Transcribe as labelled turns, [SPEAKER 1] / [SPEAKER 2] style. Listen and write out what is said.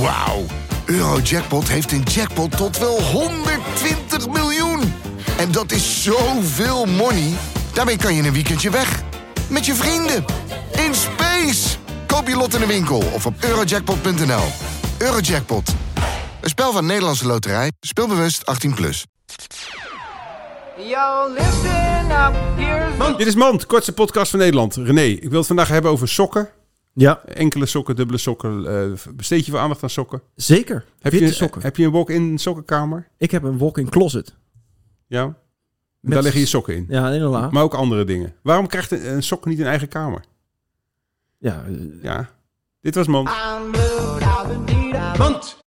[SPEAKER 1] Wauw. Eurojackpot heeft een jackpot tot wel 120 miljoen. En dat is zoveel money. Daarmee kan je in een weekendje weg. Met je vrienden. In space. Koop je lot in de winkel of op eurojackpot.nl. Eurojackpot. Een spel van Nederlandse Loterij. Speelbewust 18+. Plus.
[SPEAKER 2] Yo, listen up. Here's
[SPEAKER 3] Dit is Mand, kortste podcast van Nederland. René, ik wil het vandaag hebben over sokken.
[SPEAKER 4] Ja,
[SPEAKER 3] Enkele sokken, dubbele sokken. eh, besteed je veel aandacht aan sokken?
[SPEAKER 4] zeker.
[SPEAKER 3] Heb
[SPEAKER 4] Witte
[SPEAKER 3] je,
[SPEAKER 4] sokken.
[SPEAKER 3] Heb je een walk-in sokkenkamer?
[SPEAKER 4] Ik heb een walk-in closet.
[SPEAKER 3] Ja. Daar liggen je sokken in.
[SPEAKER 4] Ja, inderdaad.
[SPEAKER 3] Maar ook andere dingen. Waarom krijgt een, een sok niet een eigen kamer?
[SPEAKER 4] Ja, eh,
[SPEAKER 3] Ja. Dit was Mand.
[SPEAKER 2] I'm moved. I've been deed. I've been